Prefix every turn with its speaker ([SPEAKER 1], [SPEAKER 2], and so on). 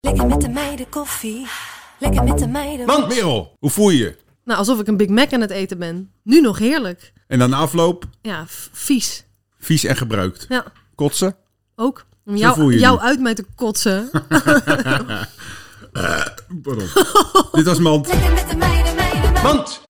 [SPEAKER 1] Lekker met de meiden koffie. Lekker met de meiden.
[SPEAKER 2] Man, Merel, hoe voel je je?
[SPEAKER 3] Nou, alsof ik een Big Mac aan het eten ben. Nu nog heerlijk.
[SPEAKER 2] En dan na afloop,
[SPEAKER 3] Ja, f- vies.
[SPEAKER 2] vies en gebruikt.
[SPEAKER 3] Ja,
[SPEAKER 2] Kotsen?
[SPEAKER 3] ook. Om
[SPEAKER 2] voel
[SPEAKER 3] jou,
[SPEAKER 2] je
[SPEAKER 3] jou
[SPEAKER 2] nu.
[SPEAKER 3] uit mij te kotsen.
[SPEAKER 2] Pardon. Dit was Mand.
[SPEAKER 1] Lekker met de meiden, meiden, meiden.
[SPEAKER 2] Mand!